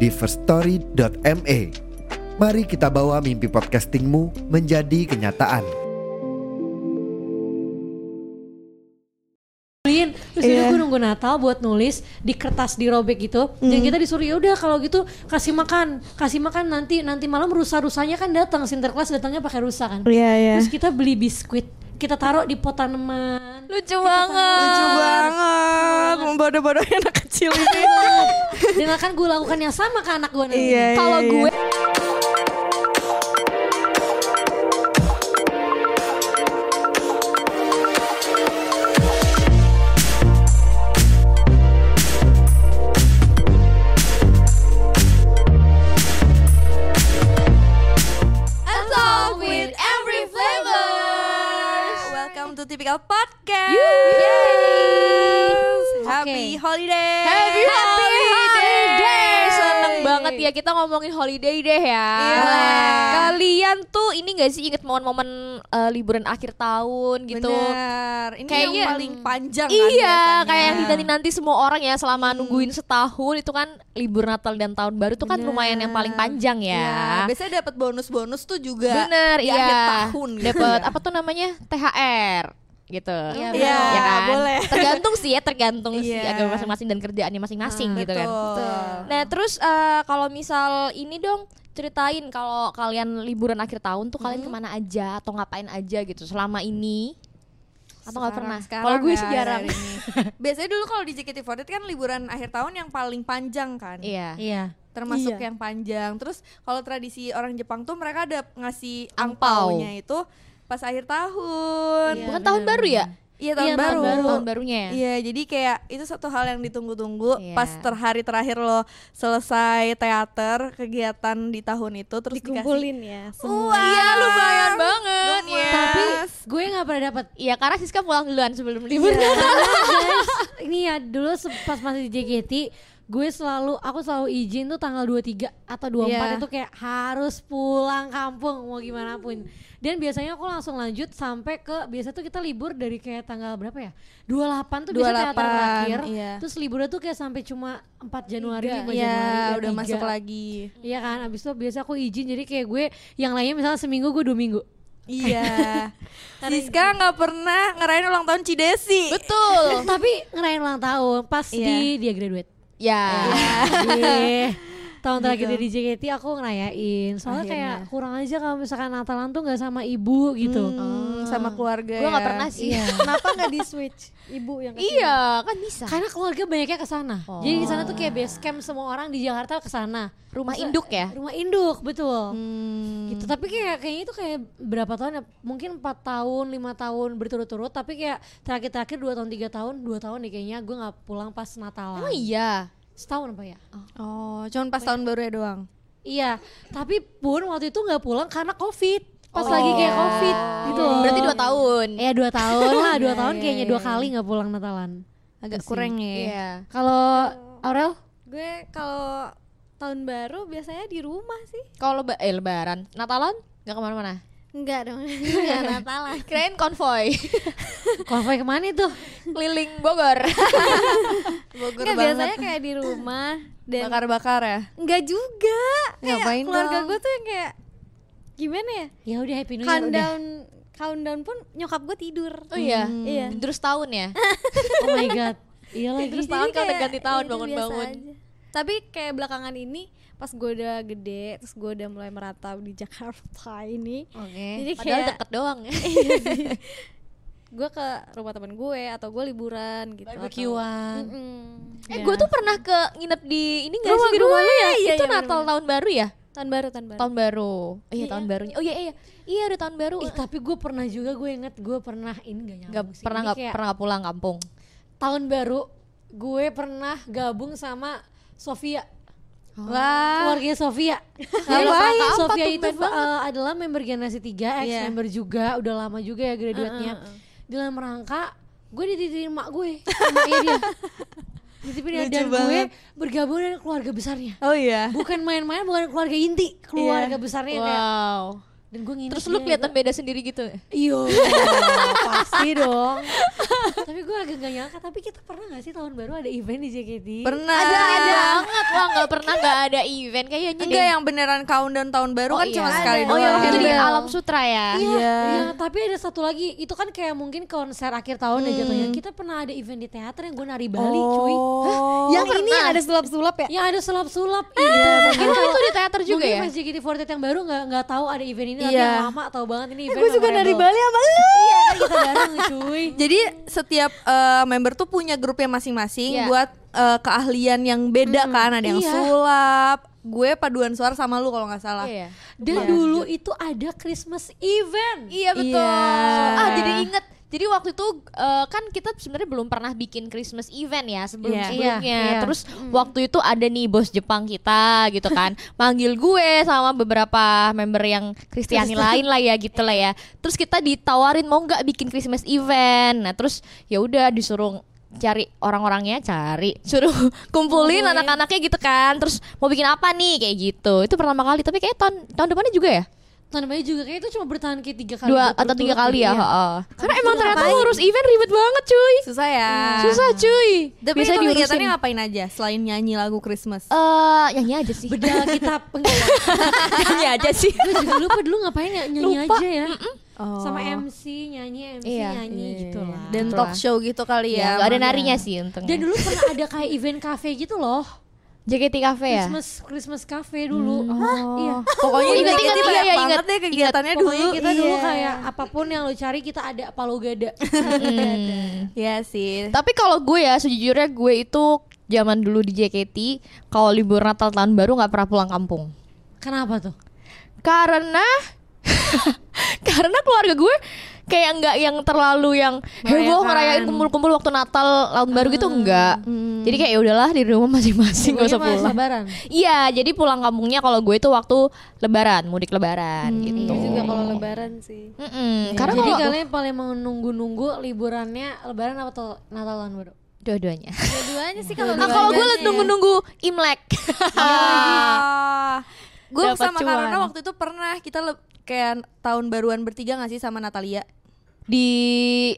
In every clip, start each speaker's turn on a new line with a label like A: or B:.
A: di firststory.me. Mari kita bawa mimpi podcastingmu menjadi kenyataan.
B: Nuliin. Terus
C: Iya.
B: yeah. gue nunggu Natal buat nulis di kertas dirobek gitu.
C: Hmm.
B: Dan kita disuruh ya udah kalau gitu kasih makan, kasih makan nanti nanti malam rusa-rusanya kan datang Sinterklas datangnya pakai rusa kan.
C: Iya iya.
B: Terus kita beli biskuit, kita taruh di pot tanaman.
D: Lucu banget.
C: Lucu banget, Iya, membodoh-bodohin anak kecil ini.
B: Dan akan gue kan lakukan yang sama ke anak gue nanti.
C: Iya, iya.
D: Kalau gue A song with every flavor. Welcome to Typical Podcast. Happy
B: Oke.
D: holiday.
C: Happy holidays.
D: Seneng banget ya kita ngomongin holiday deh ya.
C: Iya.
D: Kalian tuh ini gak sih inget momen-momen eh, liburan akhir tahun gitu.
C: Bener. Ini
D: Kayaknya-
C: yang paling panjang kan
D: Iya,
C: biasanya. Hmm.
D: kayak yang dinanti-nanti semua orang ya selama nungguin setahun itu kan libur Natal dan tahun baru itu
C: Iya.
D: kan lumayan yang paling panjang
C: Ya,
D: ya.
C: biasanya dapat bonus-bonus tuh juga.
D: Bener,
C: di
D: iya.
C: akhir tahun gitu
D: Dapat
C: ya.
D: apa tuh namanya THR gitu.
B: Iya,
C: Iya,
D: ya kan?
C: boleh.
D: Tergantung sih ya, tergantung sih
C: Iya.
D: agama masing-masing dan kerjaannya masing-masing gitu kan.
C: Betul.
D: Nah, terus eh, kalau misal ini dong ceritain kalau kalian liburan akhir tahun tuh kalian kemana aja atau ngapain aja gitu selama ini atau nggak pernah?
C: Sekarang-
D: Kalau gue
C: sekarang
D: sih
C: ya,
D: jarang.
C: hari ini. Biasanya dulu kalau di JKT48 kan liburan akhir tahun yang paling panjang kan.
D: Iya.
B: Iya.
C: Termasuk
B: Iya.
C: yang panjang. Terus kalau tradisi orang Jepang tuh mereka ada ngasih
D: Angpau.
C: angpaunya itu pas akhir tahun.
B: Iya,
D: Bukan tahun
B: benar,
D: baru ya?
C: Iya tahun
B: Iya, tahun
C: baru.
B: baru.
D: Tahun barunya ya.
C: Iya, jadi kayak itu satu hal yang ditunggu-tunggu
D: Iya.
C: pas ter hari terakhir lo selesai teater kegiatan di tahun itu terus dikumpulin.
E: dikumpulin ya
C: Wah,
E: semua.
D: Iya, lumayan banget. Iya.
B: Tapi gue nggak pernah dapat
D: Iya, karena Siska pulang duluan sebelum libur.
B: guys, ini ya dulu se- pas masih di JKT gue selalu aku selalu izin tuh tanggal 23 atau 24
C: Iya.
B: itu kayak harus pulang kampung mau gimana pun. Dan biasanya aku langsung lanjut sampai ke biasa tuh kita libur dari kayak tanggal berapa ya? 28 tuh biasa teater
C: 28,
B: terakhir.
C: iya.
B: Terus liburnya tuh kayak sampai cuma 4 Januari, 5 Januari.
C: Iya,
B: dan
C: udah
B: tiga.
C: masuk lagi.
B: Iya kan, abis itu biasa aku izin jadi kayak gue yang lainnya misalnya seminggu gue dua minggu.
C: Iya. Siska nggak pernah ngerayain ulang tahun Cidesi.
D: Betul.
B: Tapi ngerayain ulang tahun pas
C: Iya.
B: di dia graduate.
D: Ya.
B: Iya. tahun terakhir dari JKT aku ngerayain soalnya kayak kurang aja kalau misalkan Natalan tuh nggak sama ibu gitu Iya
C: Hmm, sama keluarga.
D: Gue nggak
C: ya.
D: pernah sih.
E: Kenapa nggak di switch? Ibu yang kasih.
D: Iya, kan bisa.
B: karena keluarga banyaknya ke sana jadi di sana tuh kayak base camp semua orang di Jakarta ke sana
D: Rumah induk ya.
B: rumah induk betul
C: Hmm.
B: gitu tapi kayak kayaknya itu kayak berapa tahun ya mungkin 4 tahun lima tahun berturut-turut tapi kayak terakhir-terakhir dua tahun tiga tahun dua tahun nih kayaknya gue nggak pulang pas Natalan
D: Oh iya.
B: setahun apa ya
C: Oh, cuman pas tahun baru ya doang.
B: iya tapi pun waktu itu nggak pulang karena covid pas lagi kayak covid gitu loh.
D: Oh. Berarti dua tahun. Iya,
B: Ya dua tahun lah, dua tahun kayaknya dua kali nggak pulang Natalan.
C: Agak kurang ya.
D: Iya.
B: Kalau Aurel?
E: Gue kalau tahun baru biasanya di rumah sih.
D: Kalau leba- eh, lebaran, Natalan nggak kemana-mana.
E: Enggak dong. Enggak Natalan.
D: Kirain konvoy
B: Konvoy kemana itu?
D: keliling Bogor.
C: Bogor
E: Enggak
C: banget.
E: biasanya kayak di rumah dan
C: Bakar-bakar ya.
E: enggak juga. Kayak
C: Ngapain
E: keluarga
C: dong?
E: gue tuh yang kayak gimana ya?
B: Ya udah happy new year udah.
E: Countdown countdown pun nyokap gue tidur.
D: Oh iya.
E: Hmm. Iya.
D: Terus tahun ya.
B: Oh my god. Iya lagi.
D: Terus
E: Jadi
D: tahun kan
E: kayak
D: ganti tahun
E: ya udah
D: bangun-bangun.
E: biasa aja. Tapi kayak belakangan ini pas gue udah gede, terus gue udah mulai merantau di Jakarta ini,
D: Oke.
E: Jadi
D: Padahal
E: kayak-
D: deket doang ya.
E: gue ke rumah temen gue atau gue liburan gitu. atau-
B: Barbekyuan.
E: Mm-mm.
D: Eh,
E: Ya.
D: gue tuh pernah ke nginep di ini nggak sih
E: Rumah
D: di rumah
E: gue.
D: lu ya?
E: Iya,
D: itu
E: iya,
D: Natal
E: bener-bener.
D: tahun baru ya?
E: tahun baru tahun baru.
D: Tahun baru. Oh iya,
E: Iya.
D: tahun barunya. Oh iya iya. Iya udah tahun baru.
B: Ih, tapi gue pernah juga gue inget gue pernah ini gak nyambung
D: Gak
B: sih.
D: pernah
B: Ini
D: nggak
B: kayak
D: pernah nggak pulang kampung.
B: tahun baru gue pernah gabung sama Sofia
C: Wah.
B: keluarga Oh. Sofia.
D: Ngapain?
B: Sofia
D: Apa
B: Sofia
D: tuh,
B: itu
D: pen banget?
B: eh, adalah member generasi 3, ex
C: Iya.
B: member juga, udah lama juga ya graduate-nya. Dalam rangka gue dititipin emak gue, emaknya dia. Dititipin ya,
C: Lucu
B: dan gue
C: banget.
B: bergabung dengan keluarga besarnya.
C: Oh iya.
B: Bukan main-main, bukan keluarga inti, keluarga
C: Iya.
B: besarnya kayak
D: Wow.
B: dan gue nginep
D: Terus lu
B: dia,
D: kelihatan
B: gua-
D: beda sendiri gitu.
B: Iya, pasti dong. tapi gue agak gak nyangka. Tapi kita pernah gak sih tahun baru ada event di JKT?
C: Pernah.
D: Ada
E: Iya.
D: banget lah nggak pernah nggak ada event kayaknya.
C: Enggak
D: deh.
C: yang beneran countdown tahun baru
D: Oh
C: kan cuma
D: iya.
C: sekali
D: Oh
C: doang.
D: yang waktu di
C: Iya.
D: Alam Sutra ya.
B: Iya,
C: Iya.
B: iya, tapi ada satu lagi. Itu kan kayak mungkin konser akhir tahun ya jatuhnya.
D: Hmm.
B: Kita pernah ada event di teater yang gue nari Bali, cuy.
C: Oh.
E: yang ini
D: pernah.
E: ada sulap-sulap ya?
B: Yang ada sulap-sulap. Iya, mungkin
D: Oh,
B: kalau-
D: itu di teater juga
B: mungkin
D: ya.
B: pas JKT48 yang baru nggak nggak tahu ada event ini tapi
C: Iya.
B: yang lama tahu banget
D: Eh,
B: ini event.
E: Gue juga dari
B: memorable.
E: Bali sama lu.
B: Iya, kan kita bareng cuy.
C: Jadi setiap eh, member tuh punya grupnya masing-masing
D: Iya. Hmm.
C: buat eh, keahlian yang beda kan. Ada yang
B: iya.
C: sulap. Gue paduan suara sama lu kalau nggak salah.
D: Iya.
B: Dan
C: Iya.
B: dulu itu ada Christmas event.
D: Iya betul.
C: Iya.
D: Ah jadi inget. Jadi waktu itu eh, kan kita sebenarnya belum pernah bikin Christmas event ya sebelum
C: Iya.
D: sebelumnya.
B: Iya, iya.
D: Terus waktu itu ada nih bos Jepang kita gitu kan, manggil gue sama beberapa member yang Kristiani lain lah ya gitu lah ya. Terus kita ditawarin mau nggak bikin Christmas event. Nah terus ya udah disuruh cari orang-orangnya cari suruh kumpulin anak-anaknya gitu kan terus mau bikin apa nih kayak gitu itu pertama kali tapi kayak tahun tahun depannya juga ya
B: Tahun depannya juga kayak itu cuma bertahan kayak tiga kali.
D: dua atau
B: berturut-turut
D: tiga kali ya
B: iya.
D: heeh. karena
B: Habis
D: emang
B: itu
D: ternyata
B: ngapain?
D: ngurus event ribet banget cuy
C: Susah ya.
D: susah cuy
C: Tapi
D: bisa
C: itu
D: diurusin
C: kegiatannya ngapain aja selain nyanyi lagu Christmas?
D: Eh, nyanyi aja sih
B: Bedal kitab. Enggak.
C: nyanyi aja sih.
B: Gue juga lupa dulu ngapain ya nyanyi
D: Lupa.
B: aja ya.
C: Oh.
B: Sama MC nyanyi, MC
D: Iya.
B: nyanyi
D: Iya,
B: gitu
D: iya,
B: lah.
D: iya.
C: Dan
D: Betul
C: talk
D: lah.
C: show gitu kali
D: ya
C: ya.
D: nggak ada
C: makanya.
D: narinya sih untungnya
B: Dan dulu pernah ada kayak event cafe gitu loh.
D: JKT Cafe ya
B: Christmas Christmas cafe dulu.
D: Hmm.
B: Hah?
D: Oh.
B: Iya.
C: Pokoknya ingat,
D: Ingat, ingat,
C: ingat,
D: iya,
C: banget
D: iya, ingat.
C: deh kegiatannya
B: Pokoknya
C: dulu.
B: kita dulu
C: Iya.
B: kayak apapun yang lo cari kita ada palo gada.
D: Hmm.
C: Iya sih.
D: tapi kalau gue ya sejujurnya gue itu zaman dulu di JKT kalau libur Natal tahun baru nggak pernah pulang kampung
B: Kenapa tuh?
D: karena karena keluarga gue kayak nggak yang terlalu yang heboh ngerayain kumpul-kumpul waktu Natal tahun baru gitu enggak jadi kayak ya udahlah di rumah masing-masing gak usah
B: Pokoknya pas
D: pulang
B: Lebaran.
D: Iya, jadi pulang kampungnya kalau gue itu waktu Lebaran, mudik Lebaran gitu.
E: Gue iya juga kalau lebaran sih.
D: Mm-mm, Karena
B: Iya, Jadi
D: kalau
B: kalian paling menunggu-nunggu liburannya Lebaran atau Natal tahun baru?
D: dua-duanya.
E: Keduanya sih kalau
D: Nah, kalau gue
E: lebaran ya.
D: nunggu-nunggu Imlek.
C: Iya. Ah. Gue
D: Dapat
C: sama
D: cuan.
C: Karona waktu itu pernah kita le- kayak tahun baruan bertiga gak sih sama Natalia?
D: di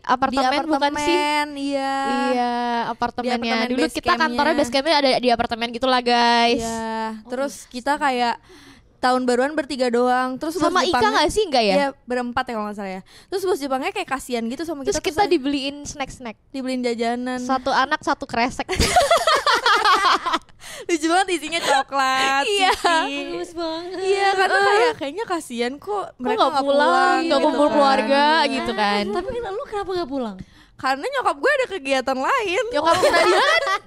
D: apartemen, bukan sih?
C: Iya.
D: Iya, apartemennya.
C: apartemen
D: Dulu
C: base
D: kita
C: campnya.
D: kantornya base campnya ada di apartemen gitulah, guys.
C: Iya. Terus kita kayak tahun baruan bertiga doang. Terus bos
D: Sama Ika
C: Jepangnya-
D: nggak sih? Enggak ya?
C: Iya, berempat ya kalau nggak salah ya. Terus bos Jepangnya kayak kasihan gitu sama Kan.
D: Terus
C: kita.
D: kita dibeliin snack-snack.
C: dibeliin jajanan.
D: Satu anak satu kresek.
C: Lucu banget isinya coklat.
D: Iya.
C: ciki.
B: Bagus banget.
C: Iya, karena kayak kayaknya kasihan kok mereka
D: nggak
C: nggak
D: pulang,
C: pulang,
D: nggak
C: gitu
D: kumpul
C: kan. Iya.
D: keluarga gitu kan.
B: Ah, Tapi kenapa- lu kenapa nggak pulang?
C: Karena nyokap gue ada kegiatan lain.
D: Nyokap kita di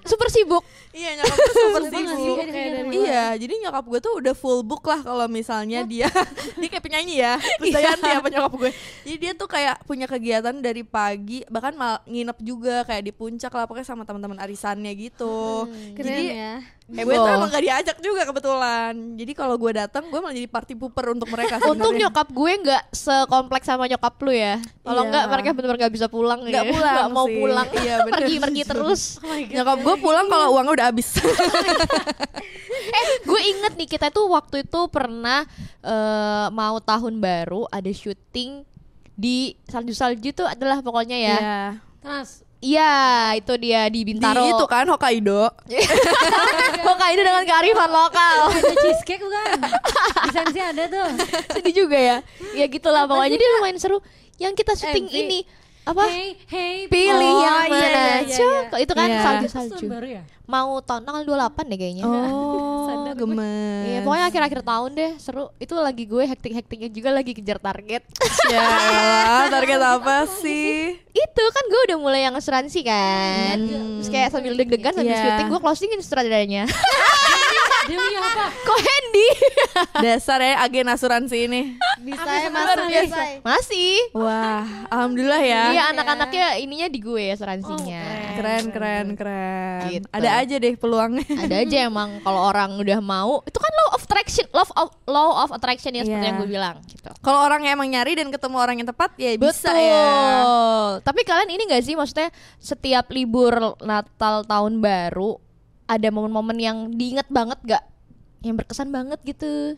D: super sibuk.
C: Iya, nyokap gue super
B: Sumpah nggak sih?
C: sibuk.
B: Kayak dari
C: Iya, jadi nyokap gue tuh udah full book lah kalau misalnya dia dia kayak penyanyi ya. Terus saya ganti apa nyokap gue. Jadi dia tuh kayak punya kegiatan dari pagi, bahkan mal nginep juga kayak di puncak lah pokoknya sama teman-teman arisannya gitu.
E: Keren
C: jadi
E: ya.
C: eh, gue tuh
D: Heboh.
C: emang gak diajak juga kebetulan. Jadi kalau gue datang, gue malah jadi party pooper untuk mereka
D: Untung
C: sebenarnya.
D: nyokap gue nggak sekompleks sama nyokap lu ya.
C: Iya.
D: Kalau nggak mereka benar-benar nggak bisa pulang.
C: Nggak
D: ya.
C: pulang
D: Nggak mau
C: sih.
D: pulang.
C: Iya, bener.
D: pergi pergi terus.
C: Nyokap gue pulang kalau uangnya udah habis.
D: eh, gue inget nih kita tuh waktu itu pernah eh, mau tahun baru ada syuting di salju-salju tuh adalah pokoknya
C: Iya.
D: ya.
B: Trans.
D: Iya, itu dia di Bintaro.
C: Di itu kan Hokkaido.
D: Hokkaido dengan kearifan lokal.
B: Ada cheesecake bukan? Di sana sih ada tuh.
D: Sedih juga ya. Ya gitulah pokoknya dia lumayan seru. Yang kita syuting
E: MV.
D: ini apa?
B: Hey, hey.
D: Pilih
C: Oh,
D: yang
C: iya,
D: mana?
C: iya, iya,
D: Cuk. Itu kan
C: Iya.
B: Terus tahun
D: salju-salju.
B: baru ya?
D: mau tahun tanggal 28 deh kayaknya.
C: Oh, gemes.
D: Iya, pokoknya akhir-akhir tahun deh seru. Itu lagi gue hektik-hektiknya juga lagi kejar target.
C: Ya, elah, target apa sih?
D: itu kan gue udah mulai yang asuransi kan. Terus kayak sambil deg-degan sambil
C: Hmm. Iya.
D: syuting gue closingin sutradaranya.
B: Demi apa?
D: Kok Hendy?
C: Dasar ya agen asuransi ini.
F: Bisa ya mas, bisa.
D: Masih.
C: Wah, alhamdulillah ya. Oh,
D: Iya anak-anaknya ininya di gue asuransinya.
C: Keren, keren, keren.
D: Gitu.
C: Ada aja deh peluangnya.
D: ada aja emang kalau orang udah mau itu kan law of attraction law of law of attraction ya seperti
C: Iya.
D: yang gue bilang gitu
C: Kalau orang yang emang nyari dan ketemu orang yang tepat ya bisa
D: Betul.
C: ya.
D: Tapi kalian ini gak sih maksudnya setiap libur Natal tahun baru ada momen-momen yang diingat banget gak? Yang berkesan banget gitu.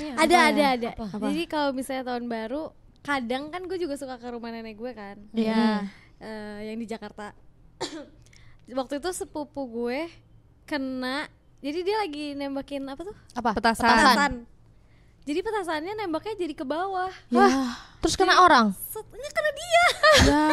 B: ya?
E: ada ada ada jadi kalau misalnya tahun baru kadang kan gue juga suka ke rumah nenek gue kan
C: Iya.
E: Eh, yang di Jakarta waktu itu sepupu gue kena jadi dia lagi nembakin apa tuh
D: Apa?
C: Petasan.
E: jadi petasannya nembaknya jadi ke bawah
C: Iya.
D: Terus kena orang.
E: Set, ini karena dia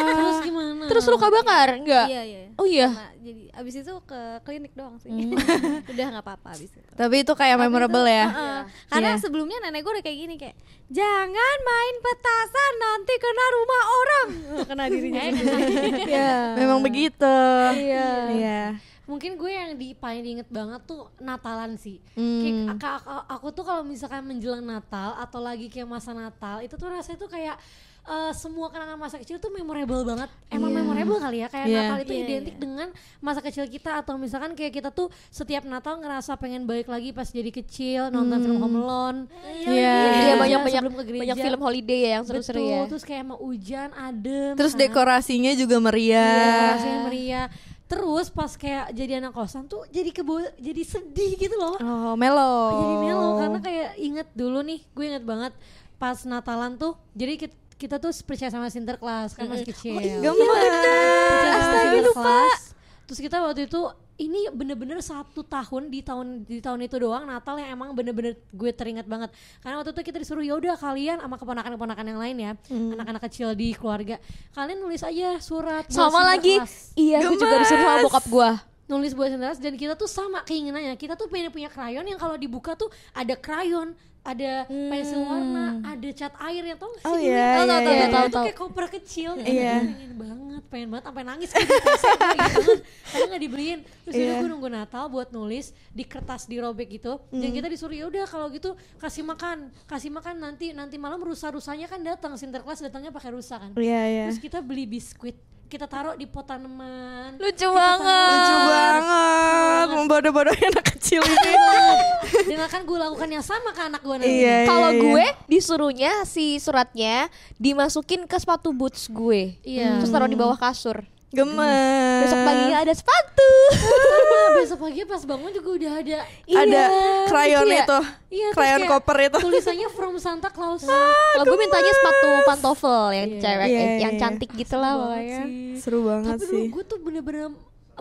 B: Terus gimana?
D: Terus luka bakar enggak?
E: iya iya
D: Oh iya.
E: Kena. jadi abis itu ke klinik doang sih
C: Hmm.
E: udah nggak apa-apa abis itu
C: Tapi itu kayak memorable ya.
E: Heeh. Karena
C: Iya.
E: sebelumnya nenek gue udah kayak gini kayak jangan main petasan nanti kena rumah orang kena dirinya
C: Memang begitu.
E: Iya.
C: Iya.
B: Mungkin gue yang di paling diinget banget tuh Natalan sih.
C: Hmm.
B: Kayak ak- ak- aku tuh kalau misalkan menjelang Natal atau lagi kayak masa Natal itu tuh rasanya tuh kayak eh, semua kenangan masa kecil tuh memorable banget. Emang memorable kali ya kayak
C: Iya.
B: Natal itu
E: Iya,
B: identik dengan masa kecil kita atau misalkan kayak kita tuh setiap Natal ngerasa pengen balik lagi pas jadi kecil nonton film Home Alone.
C: Iya.
D: Iya
B: Iya,
D: banyak-banyak
B: sebelum ke gereja.
D: banyak film holiday ya yang seru-seru
B: Betul,
D: ya.
B: terus kayak mau hujan, adem.
C: Terus
B: kan?
C: dekorasinya juga
B: Iya,
C: meriah.
B: rasanya meriah. Terus pas kayak jadi anak kosan tuh jadi kebo jadi sedih gitu loh.
C: Oh, melo.
B: Jadi melo karena kayak inget dulu nih, gue inget banget pas Natalan tuh. Jadi kit- kita, tuh percaya sama Sinterklas kan masih kecil.
C: iya
B: Iya. Percaya sama Sinterklas. Terus kita waktu itu ini bener-bener satu tahun di tahun di tahun itu doang Natal yang emang bener-bener gue teringat banget karena waktu itu kita disuruh yaudah kalian sama keponakan-keponakan yang lain ya
D: Hmm.
B: anak-anak kecil di keluarga kalian nulis aja surat buat
D: Sama lagi.
B: Sinterklas."
D: Iya, gue juga disuruh sama bokap gua.
B: nulis buat sendiri dan kita tuh sama keinginannya kita tuh pengen punya krayon yang kalau dibuka tuh ada krayon ada
D: Hmm.
B: pensil warna ada cat air ya tau gak sih
C: Oh,
B: dulu?
C: iya,
B: Tau, tau,
C: iya,
B: tau,
D: iya.
B: tau,
D: Tahu,
B: itu
D: tahu.
B: kayak koper kecil kayak
C: Iya.
B: aduh, pengen banget pengen banget sampai nangis gitu karena nggak dibeliin terus
C: Iya.
B: yeah. gue nunggu Natal buat nulis di kertas dirobek gitu dan
C: Hmm.
B: kita disuruh ya udah kalau gitu kasih makan kasih makan nanti nanti malam rusa rusanya kan datang Sinterklas datangnya pakai rusa kan
C: Iya, iya.
B: terus kita beli biskuit kita taruh di pot tanaman
C: Lucu
D: Lucu
B: Ah.
D: banget.
C: banget membodoh-bodohin anak kecil ini.
B: dengan kan gue lakukan yang sama ke anak gue nanti
C: Iya.
D: Kalau
C: iya.
D: gue disuruhnya si suratnya dimasukin ke sepatu boots gue.
B: Iya.
D: Terus taruh di bawah kasur.
C: gemes.
D: Besok
B: ya.
D: paginya ada sepatu.
B: Sama, besok pagi pas bangun juga udah ada
C: ada krayon
D: ya.
C: itu.
B: Iya, terus
C: krayon
B: kayak
C: koper itu. Ah,
B: tulisannya from Santa Claus
D: Kalau gue mintanya sepatu pantofel yang cewek
C: Iya,
D: yang
C: iya.
D: cantik gitu lah pokoknya.
C: Seru banget
B: tapi dulu
C: sih.
B: gue tuh bener-bener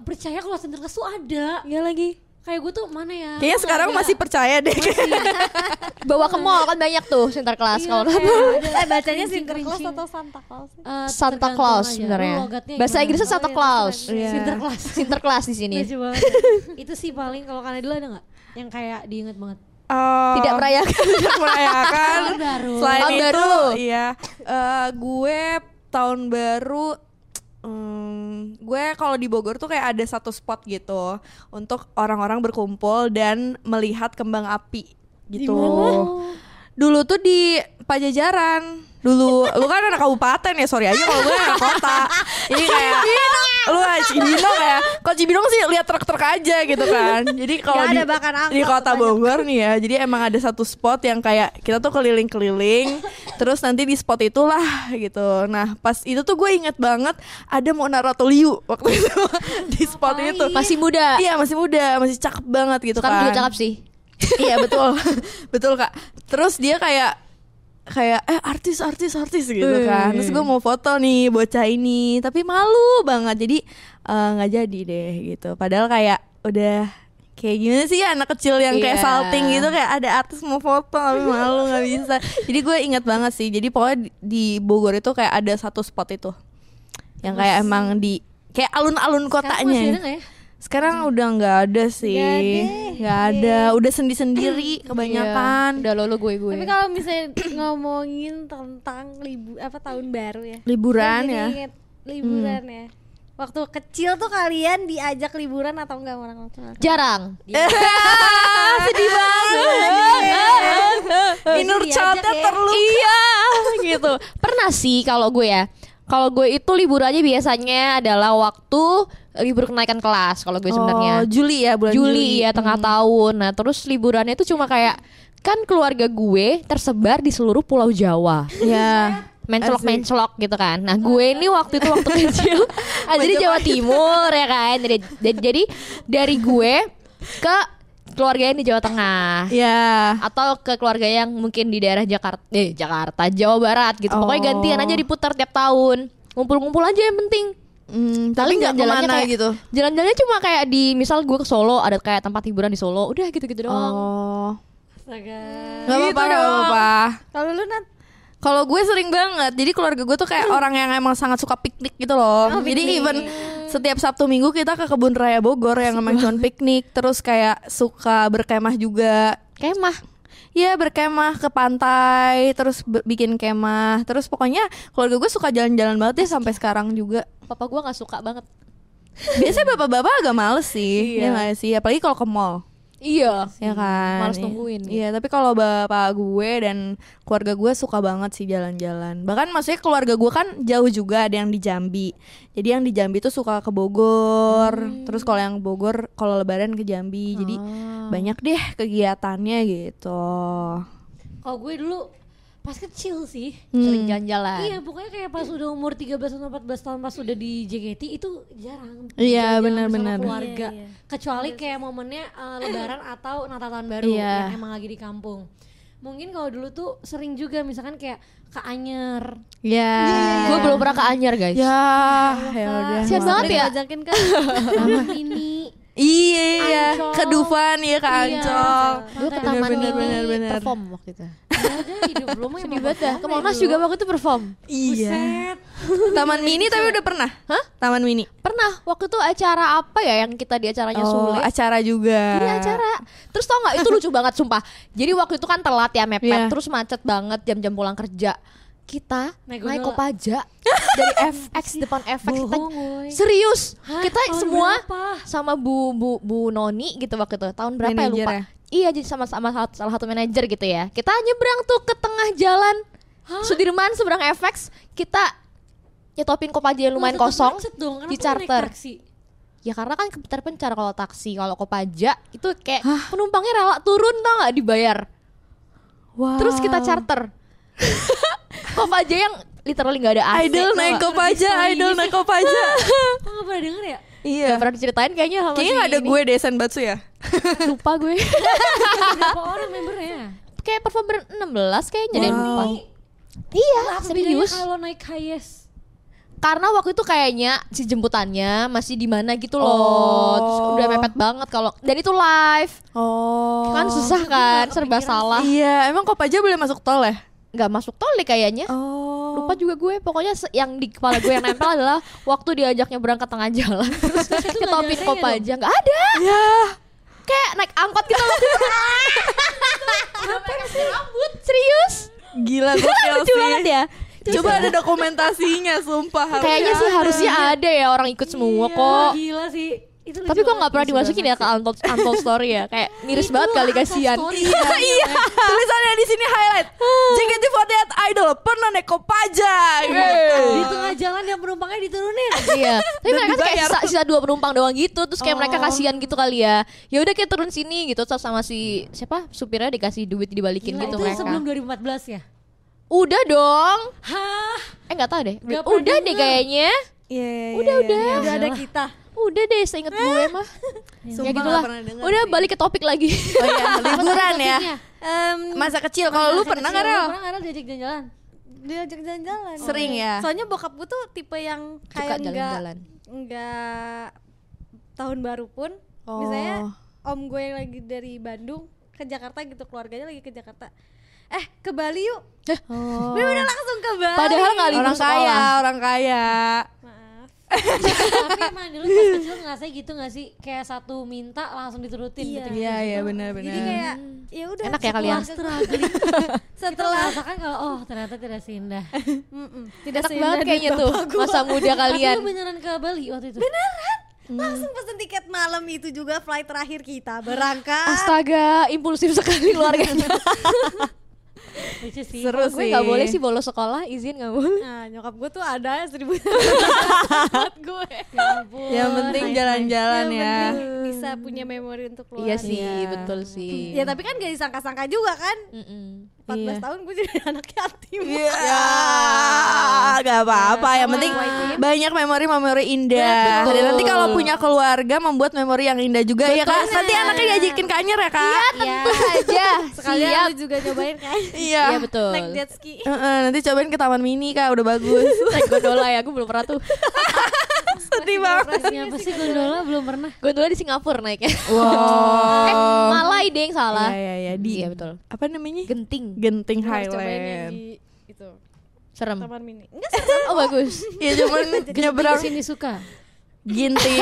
B: percaya kalau Sinterklas tuh ada
D: Iya lagi.
B: kayak gue tuh mana ya
C: Kayaknya
B: Gua
C: sekarang
B: nggak
C: masih percaya deh.
D: Bawa ke mall kan banyak tuh Sinterklas
B: Iya,
D: kalau
B: kayak ada
E: eh bacanya
B: kerincing-
E: Sinterklas
B: kerincing.
E: atau Santa Claus sih?
B: Eh,
D: Santa
B: tergantung aja.
D: Claus
B: Lu
C: ya.
D: sebenarnya.
B: logatnya
D: Bahasa
B: gimana?
D: Inggrisnya Santa Claus.
C: Iya.
B: Sinterklas
D: Sinterklas di sini.
B: Lucu banget. itu sih paling kalau kalian dulu ada nggak yang kayak diinget banget
C: Oh,
D: Tidak merayakan.
C: tidak merayakan.
B: Tahun baru.
C: Selain
D: Tahun
C: itu,
D: baru.
C: iya. Eh, gue tahun baru hmm, gue kalau di Bogor tuh kayak ada satu spot gitu untuk orang-orang berkumpul dan melihat kembang api gitu. Dulu tuh di Pajajaran. Dulu lu kan anak kabupaten ya, sorry aja kalau gue anak kota. Jadi kayak lu ah, Cibinong ya. Kalau Cibinong sih lihat truk-truk aja gitu kan. Jadi kalau
E: Nggak
C: di,
E: ada bahkan angkot
C: di kota
E: banyak.
C: Bogor nih ya. Jadi emang ada satu spot yang kayak kita tuh keliling-keliling terus nanti di spot itulah gitu. Nah, pas itu tuh gue inget banget ada Mona Ratuliu waktu itu di spot itu.
D: Masih muda.
C: Iya masih muda, masih cakep banget gitu
D: Sekarang
C: kan.
D: juga cakep sih.
C: Iya betul, betul kak. Terus dia kayak kayak eh artis artis artis gitu kan. Terus gue mau foto nih bocah ini, tapi malu banget. Jadi eh, nggak jadi deh gitu. Padahal kayak udah kayak gimana sih ya anak kecil yang kayak
D: Iya.
C: salting gitu kayak ada artis mau foto tapi malu nggak bisa. Jadi gue ingat banget sih. Jadi pokoknya di- di Bogor itu kayak ada satu spot itu yang kayak emang di kayak alun-alun kotanya.
B: Sekarang masih ada nggak ya
C: Sekarang udah Hmm. nggak ada sih, nggak ada. Iya. Udah sendi sendiri kebanyakan.
D: Udah lolo gue gue.
E: Tapi
B: kan-
E: kalau misalnya ngomongin tentang libu apa tahun baru ya.
C: Liburan
E: Gue jadi
C: ya.
E: inget liburan ya. waktu kecil tuh kalian diajak liburan atau enggak sama orang tua?
D: Jarang.
C: Iya. sedih banget inner childnya terluka
D: Iya, gitu. Pernah sih kalau gue ya. Kalau gue itu liburannya biasanya adalah waktu libur kenaikan kelas kalau gue sebenarnya.
C: Oh, Juli ya bulan
D: Juli, ya tengah tahun. Nah, terus liburannya itu cuma kayak kan keluarga gue tersebar di seluruh pulau Jawa.
C: ya
D: Mencelok-mencelok gitu kan. Nah, gue ini waktu itu waktu kecil ah, jadi Jawa Timur ya kan. Jadi, jadi dari gue ke keluarga yang di Jawa Tengah
C: ya
D: atau ke keluarga yang mungkin di daerah Jakarta eh Jakarta Jawa Barat gitu
C: Oh.
D: pokoknya gantian aja diputar tiap tahun ngumpul-ngumpul aja yang penting
C: Hmm, tapi nggak
D: jalan-jalannya
C: kemana
D: kayak-
C: gitu
D: jalan-jalannya cuma kayak di misal gue ke Solo ada kayak tempat hiburan di Solo udah gitu-gitu doang
C: oh Gitu
B: Astaga.
C: nggak apa-apa nggak apa-apa
E: Kalau lu Nat,
C: kalau gue sering banget jadi keluarga gue tuh kayak orang yang emang sangat suka piknik gitu loh jadi even setiap Sabtu Minggu kita ke kebun raya Bogor yang emang cuma piknik terus kayak suka berkemah juga
D: kemah
C: Iya berkemah ke pantai terus be- bikin kemah terus pokoknya keluarga gue suka jalan-jalan banget deh sampai sekarang juga
D: papa gue nggak suka banget
C: biasanya bapak-bapak agak males sih ya nggak sih apalagi kalau ke mall
D: iya
C: ya kan
D: Males
C: Iya.
D: nungguin.
C: iya tapi kalau bapak gue dan keluarga gue suka banget sih jalan-jalan bahkan maksudnya keluarga gue kan jauh juga ada yang di Jambi jadi yang di Jambi tuh suka ke Bogor
D: Hmm.
C: terus kalau yang Bogor kalau Lebaran ke Jambi jadi
D: Ah.
C: banyak deh kegiatannya gitu
B: Kalau gue dulu pas kecil sih.
C: Hmm.
D: sering jalan-jalan
B: Iya, pokoknya kayak pas udah umur 13 atau 14 tahun pas udah di JKT itu jarang. jalan-jalan
C: Iya, benar-benar.
B: bersama Keluarga.
E: Iya, iya.
B: Kecuali kayak momennya eh, lebaran atau Natal tahun baru
C: Iya.
B: yang emang lagi di kampung. Mungkin kalau dulu tuh sering juga misalkan kayak ke Anyer.
C: ya
D: gue Iya. belum pernah ke Anyer guys
C: ya ya udah
D: Sian
C: maaf.
D: banget ya
E: ajakin kan
B: Taman ini
C: iya
B: Ancol.
C: ke Dufan ya
D: Iya.
C: ke Ancol
D: gue ke
B: Bener,
D: taman
C: bener, bener,
D: ini
C: bener.
D: perform waktu itu
B: ada hidup lu mah emang perform
D: ke
B: ya
D: Monas
B: dulu.
D: juga waktu itu perform
C: iya Taman Mini tapi udah pernah Hah? Taman Mini
D: pernah waktu itu acara apa ya yang kita di acaranya
C: Oh,
D: Sule
C: acara juga
B: Eh.
D: Iya acara. Terus tau nggak itu lucu banget sumpah. Jadi waktu itu kan telat ya mepet,
C: Iya.
D: terus macet banget jam-jam pulang kerja. Kita
B: Naik
D: naik,
B: gondola.
D: kopaja dari FX depan FX kita
B: Bohong, woy.
D: serius.
B: Hah?
D: Kita
B: Tahun
D: semua
B: berapa?
D: sama Bu Bu Bu Noni gitu waktu itu. Tahun berapa ya
C: Manajer
D: lupa.
C: ya?
D: Iya jadi sama sama salah, salah satu manajer gitu ya. Kita nyebrang tuh ke tengah jalan. Sudirman seberang FX kita nyetopin kopaja yang lumayan
B: Tetep
D: kosong
B: macet dong, kenapa lu
D: di
B: naik
D: charter.
B: taksi?
D: Ya karena kan terpencar kalau taksi, kalau kopaja itu kayak penumpangnya rela turun tau nggak dibayar.
C: Wow.
D: Terus kita charter. kopaja yang literally nggak ada AC.
C: Idol
D: tau
C: naik
D: nggak?
C: kopaja Idol naik kopaja
B: Kok nggak pernah denger ya?
C: Iya
D: Nggak pernah diceritain kayaknya sama
C: Kayaknya
D: si
C: gak ada
D: ini.
C: gue Desan Batsu ya
D: lupa gue.
B: Berapa orang membernya?
D: kayak performer 16 kayaknya deh
C: Wow.
D: lupa. Iya,
B: Apa bedanya
D: serius.
B: kalau naik highest?
D: Karena waktu itu kayaknya si jemputannya masih di mana gitu loh. Terus
C: Oh.
D: udah mepet banget kalau dan itu live.
C: Oh
D: Kan susah kan, serba salah.
C: Iya emang kopaja boleh masuk tol ya
D: nggak masuk tol deh kayaknya.
C: Oh
D: lupa juga gue pokoknya se- yang di kepala gue yang nempel adalah waktu diajaknya berangkat tengah jalan terus ke topik
B: ada
D: kopaja aja nggak ada
C: Ya
D: kayak naik angkot gitu waktu itu rambut serius
C: Gila gue
D: lucu banget ya
C: Coba ada dokumentasinya sumpah harusnya
D: kayaknya sih harusnya ada ya orang ikut semua
B: Wah,
D: kok
B: gila sih. Itu
D: tapi kok nggak pernah dimasukin ya ke untold, untold story ya kayak miris banget kali kasihan
C: Iya Tulisannya di sini highlight
D: Ah.
C: JKT48 Idol Pernah naik kopaja gitu.
B: di
D: Oh
B: tengah jalan yang penumpangnya diturunin.
D: iya tapi
C: Dan
D: mereka tuh kayak
C: dibayar.
D: sisa, sisa dua penumpang doang gitu terus kayak mereka kasihan gitu kali ya ya udah kayak turun sini gitu terus sama si siapa supirnya dikasih duit dibalikin
B: Gila,
D: gitu
B: itu
D: mereka
B: sebelum 2014 ya?
D: udah dong
B: Hah?
D: eh nggak tahu deh
B: Nggak pernah
D: udah deh
B: denger.
D: kayaknya
C: Iya, iya,
D: udah
C: iya,
D: udah
B: Udah ada kita.
D: udah deh seinget gue mah
C: Sumpah
D: ya
C: nggak
D: gitulah
C: pernah denger
D: udah
C: sih.
D: balik ke topik lagi
C: Oh iya, liburan ya.
B: Iya.
D: Ah,
E: em,
C: Masa kecil kalau lu pernah enggak, Rel?
B: Pernah nggak Rel diajak jalan-jalan?
E: diajak jalan-jalan.
C: Sering ya?
E: Soalnya bokap gue tuh tipe yang
D: suka
E: kayak enggak
D: jalan-jalan
E: enggak tahun baru pun
C: Oh.
E: misalnya om gue lagi dari Bandung ke Jakarta gitu keluarganya lagi ke Jakarta eh ke Bali yuk
D: Hah,
E: bener langsung ke Bali
D: Oh. padahal nggak libur
C: Ah, Orang kaya,
D: sekolah
C: orang kaya.
E: maaf
B: Tapi emang dulu pas kecil ngerasa gitu gak sih? Kayak satu minta langsung diturutin
E: Iya.
D: Nah,
B: gitu.
C: Iya iya benar
E: Jadi
C: benar.
E: kayak ya udah
D: Enak ya kalian? Gitu
E: setelah-
B: Kita
E: Setelah
B: gitu, merasakan kalau oh ternyata tidak seindah.
E: Mm-mm. tidak
D: Enak
E: seindah
D: banget
E: duit
D: kayaknya tuh
E: bapak gua.
D: masa muda
B: Tapi lu
D: kalian.
B: beneran ke Bali waktu itu?
E: langsung pesen tiket malam itu juga flight terakhir kita berangkat
D: Astaga, impulsif sekali keluarganya.
B: Lucu sih.
C: Seru
D: Kalau
C: sih.
D: gue nggak boleh sih bolos sekolah, izin nggak boleh.
E: nah nyokap gue tuh ada seribu
B: Ya ampun.
C: Yang penting
B: Nice,
C: jalan-jalan
E: Yang
C: ya.
E: penting bisa punya memori untuk keluar
D: Iya sih, betul sih.
E: ya tapi kan gak disangka-sangka juga kan 14
C: Iya.
E: tahun gue jadi anak yatim
C: Iya, gak apa-apa. Yang penting
D: Nah, ya.
C: banyak memori-memori indah. Dan nanti kalau punya keluarga membuat memori yang indah juga ya kak. Nanti anaknya diajakin ke Anyer ya kak.
E: Iya
D: Tentu saja.
E: sekalian
D: Siap.
E: lu juga nyobain kan
C: Iya.
D: Iya betul.
E: naik jet ski
C: Heeh, nanti cobain ke taman mini kak, udah bagus.
D: Naik gondola ya, gue belum pernah tuh.
C: Sedih banget.
B: nice. Apa sih gondola belum pernah?
D: Gondola di Singapura naiknya.
C: Wow.
D: eh, Malai deh yang salah.
C: Oh. Iya, iya, iya. Di-
D: Iya betul.
C: Apa namanya?
D: Genting.
C: Genting
E: Gue harus cobain yang
C: Highland.
E: di itu
D: Serem.
E: taman mini enggak
D: Oh bagus.
C: Iya cuman nyebrang
B: Sini suka.
C: ginting.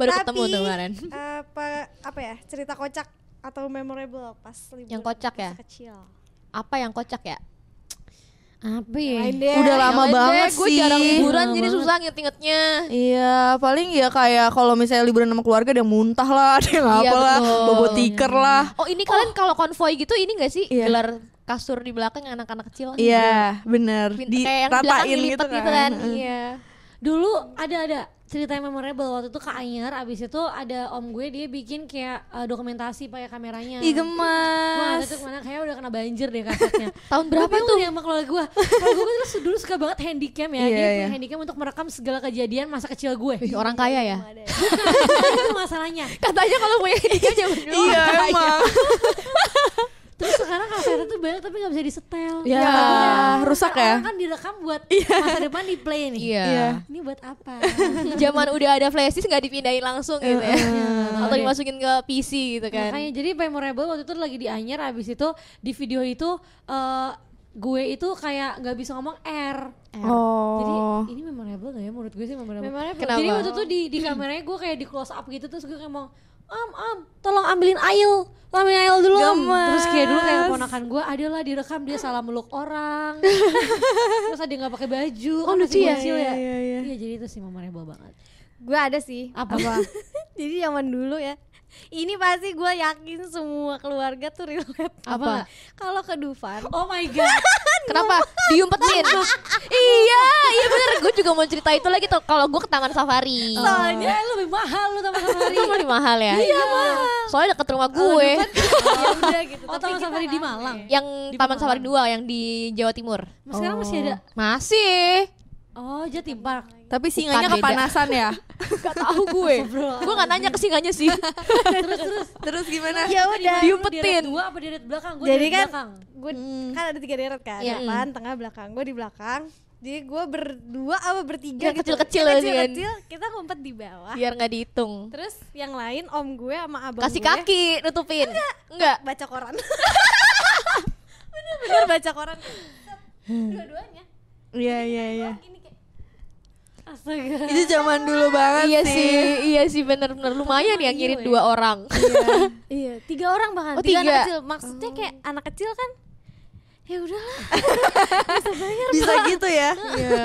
D: Baru
E: Tapi, eh,
D: ketemu tuh kemarin.
E: apa apa ya cerita kocak atau memorable pas libur
D: Yang kocak ya?
E: masa kecil
D: Apa yang kocak ya?
B: Apa ya?
C: Udah lama
D: Iya, Yang lain deh,
C: banget
D: Gue
C: sih.
D: jarang liburan
B: Lama
D: jadi
B: banget.
D: susah nginget-ngetnya.
C: Iya, paling ya kayak kalau misalnya liburan sama keluarga ada yang muntah lah, ada yang
D: Iya,
C: apa lah,
D: betul.
C: bobo tiker lah.
D: Oh ini kalian kalau konvoy gitu ini gak sih
C: Iya.
D: gelar kasur di belakang anak-anak kecil?
C: Iya, bener.
D: Oh, Kayak yang belakang
C: Diratain gitu
D: dilipet
C: kan.
D: gitu kan.
E: iya
B: Dulu ada ada cerita yang memorable waktu itu ke Anyer abis itu ada om gue dia bikin kayak eh, dokumentasi pakai kameranya
D: Iya.
B: Wah,
C: Ih, gemas.
B: itu kemana kayak udah kena banjir deh kasetnya.
D: Tahun berapa
B: Gua bingung deh sama keluarga gue? Keluarga gue tuh dulu suka banget handycam ya.
C: Iya,
B: dia
C: iya.
B: punya handycam untuk merekam segala kejadian masa kecil gue.
D: Ih, orang kaya ya.
B: itu masalahnya.
D: Katanya kalau punya dia zaman dulu.
C: Iya, emang.
B: Terus sekarang kasetnya tuh banyak tapi nggak bisa disetel.
C: Ya, rusak
B: Kan
C: ya. Iya.
B: Orang kan direkam buat masa depan di play nih.
D: Iya.
B: Ini buat apa?
C: Kan.
D: Zaman udah ada flash disk nggak dipindahin langsung gitu ya. Atau
B: Iya.
D: dimasukin ke PC gitu kan.
B: Makanya jadi memorable waktu itu lagi di Anyer abis itu di video itu eh, gue itu kayak nggak bisa ngomong R. Jadi
C: Oh.
B: ini memorable gak ya menurut gue sih memorable.
E: Memorable.
B: Jadi
D: Kenapa?
B: waktu itu di di kameranya gue kayak di close up gitu terus gue kayak mau Am, am, tolong ambilin ail, Tolong ambilin ail dulu. Am."
C: Gemes.
B: Terus kayak dulu kayak keponakan gue adalah direkam dia salah meluk orang. terus ada yang nggak pakai baju,
D: Oh,
B: kan
D: lucu
B: masih
D: ya?
B: kecil ya.
C: Iya, iya, iya.
B: Iya, jadi itu sih memorable banget.
E: gue ada sih
B: Apa?
E: Jadi zaman dulu ya. Ini pasti gue yakin semua keluarga tuh relate.
D: Apa? Kan
E: Kalau ke Dufan.
B: oh my god.
D: Kenapa? Diumpetin. iya, iya bener. Gue juga mau cerita itu lagi tuh. Kalau gue ke Taman Safari.
B: Soalnya lu lebih mahal lu sama Safari.
D: Itu lebih mahal ya. Iya Soalnya deket rumah gue.
E: ya udah gitu.
B: Oh, Taman Safari di Malang.
D: yang Taman Safari 2 yang di Jawa Timur.
B: Mas, Sekarang masih ada.
D: Masih.
B: Oh, Jatim Park.
C: Tapi singanya
D: Bukan beda.
C: kepanasan ya.
D: Gak tahu gue. gue gak nanya ke singanya sih.
C: Terus gimana?
D: Iya,
E: Ya udah.
B: Di deret
D: Diumpetin.
B: dua apa di deret belakang? Gue
E: Jadi
B: di
E: kan
B: deret belakang.
E: gue kan ada tiga deret kan,
D: Iya.
E: depan, tengah, belakang. Gue di belakang. Jadi gue berdua apa bertiga
D: Yang
E: gitu.
D: kecil-kecil
E: Yang
D: ya, kan?
E: kecil-kecil, kita ngumpet di bawah.
D: Biar gak dihitung.
E: Terus yang lain om gue sama abang
D: Kasih
E: gue ya.
D: kaki nutupin. Enggak.
E: baca koran. Bener-bener baca koran. Dua-duanya.
C: Iya, iya, iya.
E: Ini kayak
B: Astaga.
C: Itu zaman dulu banget
D: Iya
C: sih.
D: sih, iya sih bener-bener lumayan ya ngirit dua orang.
E: Iya, tiga orang bahkan.
D: Oh,
E: tiga, anak
D: tiga.
E: kecil. Maksudnya kayak anak kecil kan ya udahlah.
C: Bisa gitu ya. Iya.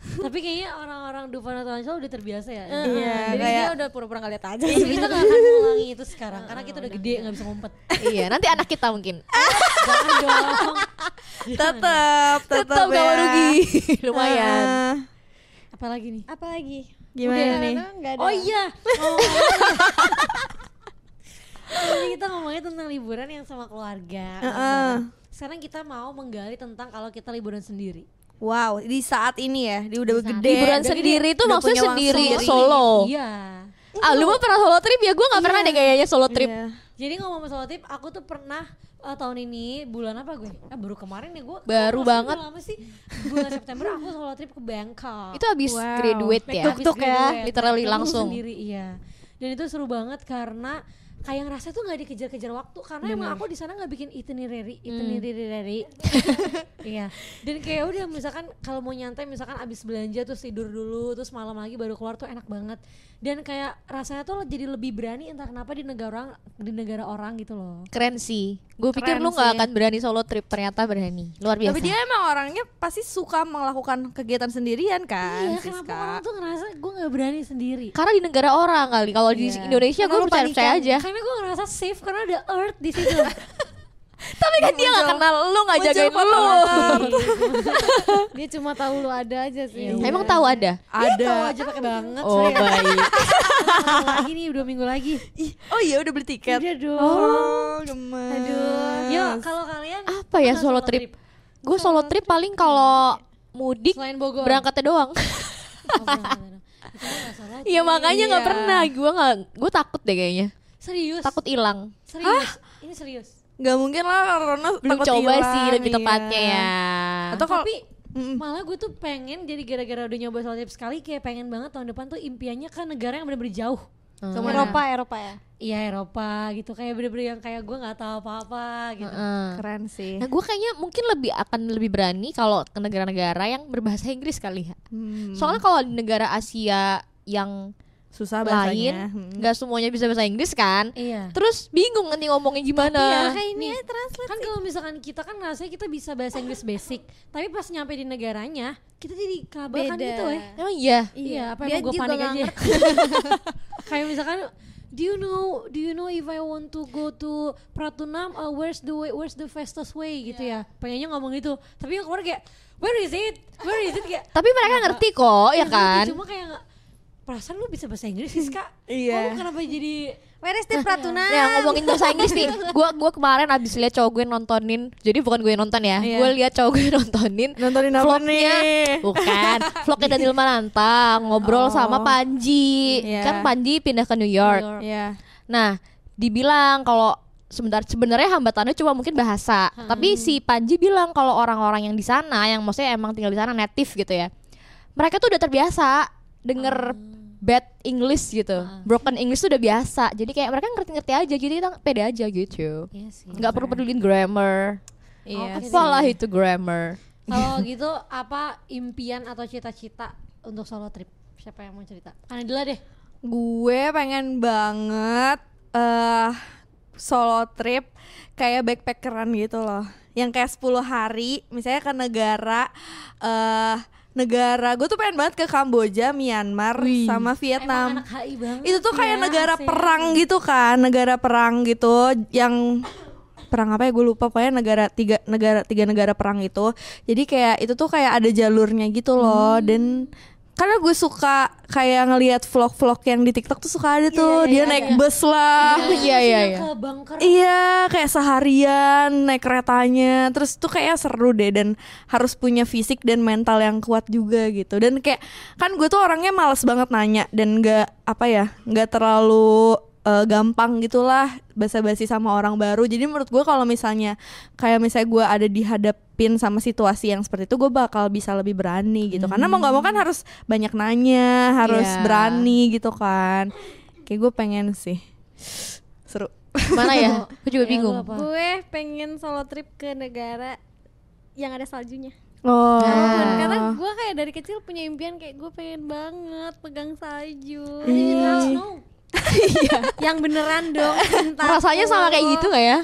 B: Tapi kayaknya orang-orang Dufan atau Ancel udah terbiasa ya.
C: Iya,
E: Jadi
C: kayak-
E: dia udah pura-pura gak lihat aja.
B: Jadi kita gak akan mengulangi itu sekarang karena kita udah gede nggak bisa ngumpet.
D: iya, nanti anak kita mungkin.
C: Ah,
B: Jangan dong.
C: Tetap, tetap
D: Tetap gak mau
C: ya.
D: rugi. Lumayan.
C: Ah,
B: Apalagi nih?
E: Apalagi?
C: Gimana nih?
B: Oh iya. ngomong-ngomong. Tadi kita ngomongnya tentang liburan yang sama keluarga.
C: Heeh.
B: Sekarang kita mau menggali tentang kalau kita liburan sendiri.
C: Wow, di saat ini ya, dia udah gede.
D: Liburan
C: udah
D: sendiri
C: gede,
D: tuh
C: udah
D: maksudnya
C: punya uang
D: sendiri,
C: sendiri.
D: solo.
B: Iya.
D: Ah, lu mah pernah solo trip ya? Gue gak pernah deh kayaknya solo trip.
C: Iya.
B: Jadi ngomong soal tip, aku tuh pernah eh, tahun ini bulan apa gue? Ah, baru kemarin ya gue.
D: Baru
B: Aku
D: banget.
B: Udah lama sih. Bulan September aku solo trip ke Bangkok.
D: Itu abis graduate ya?
B: Habis
D: Tuk-tuk ya,
B: graduate,
D: literally
B: ketemu
D: langsung.
B: Sendiri iya. Dan itu seru banget karena kayak ngerasa tuh nggak dikejar-kejar waktu karena emang aku di sana nggak bikin itinerary
D: Hmm.
B: itinerary iya dan kayak udah misalkan kalau mau nyantai misalkan abis belanja terus tidur dulu terus malam lagi baru keluar tuh enak banget dan kayak rasanya tuh jadi lebih berani entah kenapa di negara orang di negara orang gitu loh
D: Keren sih. Gue pikir
E: Keren
D: lu nggak
E: sih.
D: akan berani solo trip, ternyata berani. Luar biasa.
C: Tapi dia emang orangnya pasti suka melakukan kegiatan sendirian kan,
B: iya
C: Siska?
B: kenapa orang tuh ngerasa gue nggak berani sendiri
D: Karena di negara orang kali. Kalau di
B: Iya.
D: Indonesia gue
B: Karena lu
D: percaya percaya
B: panikan.
D: aja.
C: kan?
B: karena gue ngerasa safe karena ada earth di situ
D: Tapi kan dia nggak kenal lu, nggak
C: muncul
D: jagain lu. Oh.
E: dia cuma tahu lu ada aja sih
B: Iya.
D: Emang tahu ada?
C: Ada.
B: Tahu aja pakai banget
D: Oh
B: sorry.
D: baik.
B: Minggu lagi nih dua minggu lagi
C: Ih, oh iya udah beli tiket.
B: udah dong
C: Oh, gemes.
B: aduh yuk kalau kalian
D: Apa ya
B: pernah
D: solo trip? Gue solo trip paling kalau mudik
B: selain Bogor
D: berangkatnya doang.
B: Oh, berangkat. Itu mah nggak solo
D: Iya makanya nggak
C: Iya.
D: pernah. Gue nggak. Gue takut deh kayaknya.
B: serius
D: Takut hilang.
B: serius ini serius
C: Gak mungkin lah karena
D: Belum
C: takut
D: coba
C: hilang,
D: sih lebih
C: iya.
D: tepatnya ya.
C: Atau kalau
B: tapi
C: Mm.
B: malah gue tuh pengen jadi gara-gara udah nyoba solo trip sekali kayak pengen banget tahun depan tuh impiannya kan negara yang bener-bener jauh
D: Hmm.
E: Sama Eropa Eropa ya
B: Iya Eropa gitu kayak bener-bener yang kayak gue nggak tahu apa-apa gitu
D: Heeh.
C: keren sih.
D: Nah gue kayaknya mungkin lebih akan lebih berani kalau ke negara-negara yang berbahasa Inggris kali ya.
C: Hmm.
D: Soalnya kalau di negara Asia yang
C: susah
D: lain
C: bahasanya. Hmm.
D: nggak semuanya bisa bahasa Inggris kan.
B: Iya
D: Terus bingung nanti ngomongnya gimana.
E: kayak ini ya translate
B: kan kalau misalkan kita kan rasanya kita bisa bahasa Inggris basic tapi pas nyampe di negaranya kita jadi kelabakan
E: Beda.
B: gitu eh
D: Emang iya.
B: iya apa
E: Dia
B: emang gue
E: juga
B: panik
E: nggak
B: aja ya? kayak misalkan do you know do you know if I want to go to Pratunam uh, where's the way where's the fastest way gitu ya pengennya ngomong gitu tapi yang keluar kayak where is it where is it kayak
D: Tapi mereka ngerti kok, ya
C: Iya,
B: ngerti,
D: kan?
B: cuma kayak nggak- perasaan lu bisa bahasa Inggris sih kak
C: Iya.
B: kamu kenapa jadi
E: where is the Pratuna
D: Nah, ngomongin bahasa Inggris nih. Gua gua kemarin abis lihat cowok gue nontonin. Jadi bukan gue nonton ya.
C: Iya. Eh.
D: Gue lihat cowok gue nontonin
C: Nontonin apa
D: vlognya.
C: nih?
D: Bukan. Vlognya Daniel Mananta ngobrol
C: Oh.
D: sama Panji.
C: Iya.
D: Kan Panji pindah ke New York.
B: New York.
C: Iya.
D: Nah, dibilang kalau sebentar sebenarnya hambatannya cuma mungkin bahasa. Tapi si Panji bilang kalau orang-orang yang di sana yang maksudnya emang tinggal di sana native gitu ya. Mereka tuh udah terbiasa denger bad English gitu. Broken English tuh udah biasa. Jadi kayak mereka ngerti-ngerti aja gitu, kita pede aja gitu.
B: iya sih
D: nggak perlu pedulin grammar.
C: Iya.
B: Oke.
D: Apalah itu grammar.
B: Kalau gitu apa impian atau cita-cita untuk solo trip? Siapa yang mau cerita? Anadila deh.
C: Gue pengen banget eh solo trip kayak backpackeran gitu loh. Yang kayak 10 hari misalnya ke negara eh negara gue tuh pengen banget ke Kamboja, Myanmar sama Vietnam.
B: Emang anak HI banget.
C: itu tuh kayak
B: ya,
C: negara
B: asik.
C: perang gitu kan negara perang gitu yang perang apa ya gue lupa pokoknya negara tiga negara tiga negara perang itu jadi kayak itu tuh kayak ada jalurnya gitu loh dan karena gue suka kayak ngelihat vlog-vlog yang di TikTok tuh suka ada tuh dia naik bus lah
D: Iya iya iya.
B: Ke bunker.
C: Iya, kayak seharian naik keretanya. Terus tuh kayak seru deh dan harus punya fisik dan mental yang kuat juga gitu. Dan kayak kan gue tuh orangnya males banget nanya dan nggak apa ya, nggak terlalu eh, gampang gitulah basa-basi sama orang baru. Jadi menurut gue kalau misalnya kayak misalnya gue ada dihadapin sama situasi yang seperti itu, gue bakal bisa lebih berani gitu. Karena mau nggak mau kan harus banyak nanya, harus
D: Iya.
C: berani gitu kan. Kayak gue pengen sih seru.
D: Mana ya? Gue juga
B: Ya, lu
D: bingung.
B: apa?
E: gue pengen solo trip ke negara yang ada saljunya
C: Oh.
E: karena gue kayak dari kecil punya impian kayak gue pengen banget pegang salju yang beneran dong cinta
D: Rasanya sama kayak gitu gak ya?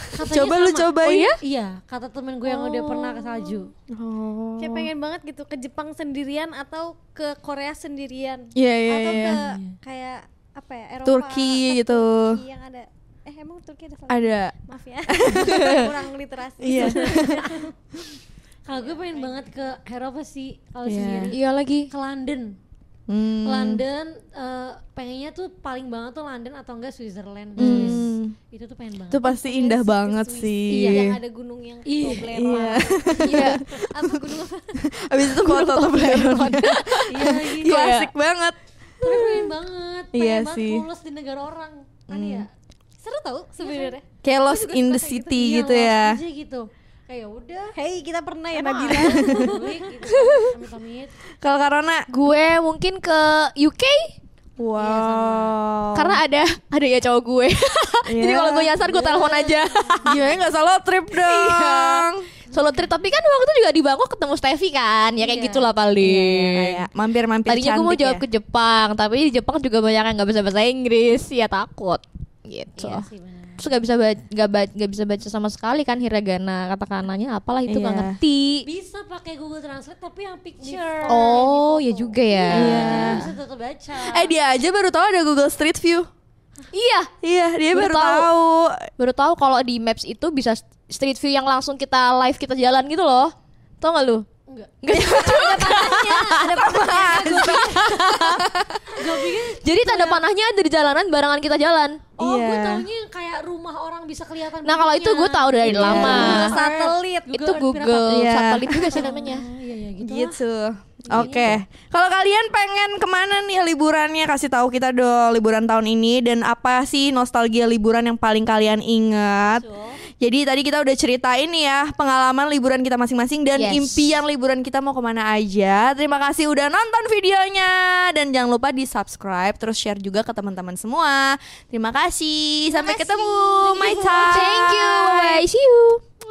B: Katanya
C: Coba lu
B: sama.
C: cobain. Oh.
B: Oh, iya? Iya, kata temen gue yang udah pernah ke salju.
E: kayak pengen banget gitu ke Jepang sendirian atau ke Korea sendirian
C: Iya iya
E: atau
C: iya.
E: ke kayak apa ya Eropa
C: Turki
E: atau
C: gitu.
E: Turki yang ada eh emang Turki ada salju
C: Ada.
E: maaf ya kurang literasi
C: Iya.
B: Kalau gue pengen banget ke Eropa sih kalau
C: Iya.
B: sendiri.
D: Iya lagi.
B: Ke London.
C: Hmm.
B: London eh, pengennya tuh paling banget tuh London atau enggak Switzerland.
C: Hmm.
B: Itu tuh pengen banget.
C: Itu pasti indah banget sih.
E: Iya, yang ada gunung yang Toblerone.
D: Iya.
E: Apa gunung apa?
C: Abis itu foto Toblerone.
B: iya lagi.
C: Klasik banget.
B: Tapi pengen banget, pengen
C: Iya
B: banget
C: sih.
B: lulus di negara orang. Kan ya?
E: Seru tau sebenarnya.
C: Kayak lost in the
B: Iya,
C: city gitu
B: lolos
C: ya.
B: Aja gitu. Kayak udah.
E: Hei, kita pernah ya Nabila.
B: Baik, gitu. Amit-amit.
C: Kalau Karona
D: Gue mungkin ke UK
C: Wow.
D: Karena ada ada ya cowok gue. Jadi
C: Oh. Iya.
D: kalau gue nyasar gue telepon aja.
C: gimana ya nggak solo trip dong?
D: Solo trip tapi kan waktu itu juga di Bangkok ketemu Steffi kan. Ya kayak
E: Iya.
D: gitulah paling.
C: Kayak mampir-mampir
D: iya. Tadinya gue mau
C: iya, cantik ya.
D: jawab ke Jepang, tapi di Jepang juga banyak yang nggak bisa bahasa Inggris, ya takut gitu.
B: Iya sih benar.
D: Terus nggak bisa ba- nggak ba- nggak bisa baca sama sekali kan hiragana katakananya apalah itu nggak
C: Iya.
D: ngerti.
B: Bisa pakai Google Translate tapi yang picture.
D: Oh ya juga ya.
B: Iya. Bisa tetap baca.
C: Eh dia aja baru tahu ada Google Street View.
D: Iya,
C: Iya, dia
D: Baru
C: baru,
D: tahu.
C: tahu.
D: baru tahu kalau di Maps itu bisa street view yang langsung kita live kita jalan gitu loh. Tau nggak lu?
B: Enggak.
D: Nggak
B: Gue pikir
D: Jadi tanda panahnya ada di jalanan barengan kita jalan.
B: oh gue
C: Iya.
B: taunya yang kayak rumah orang bisa kelihatan.
D: Nah kalau itu gue tahu dari lama.
E: satelit
D: iya. Itu Google
C: Iya.
D: satelit juga sih namanya.
B: Iya iya gitu. lah.
C: Gitu. Oke. Kalau kalian pengen kemana nih liburannya kasih tahu kita dong liburan tahun ini dan apa sih nostalgia liburan yang paling kalian ingat? Jadi tadi kita udah ceritain nih ya pengalaman liburan kita masing-masing dan
D: Yes.
C: impian liburan kita mau kemana aja. Terima kasih udah nonton videonya dan jangan lupa di subscribe terus share juga ke teman-teman semua. Terima kasih. Sampai ketemu. Oh, My time.
D: Thank you. Bye. See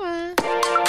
D: you.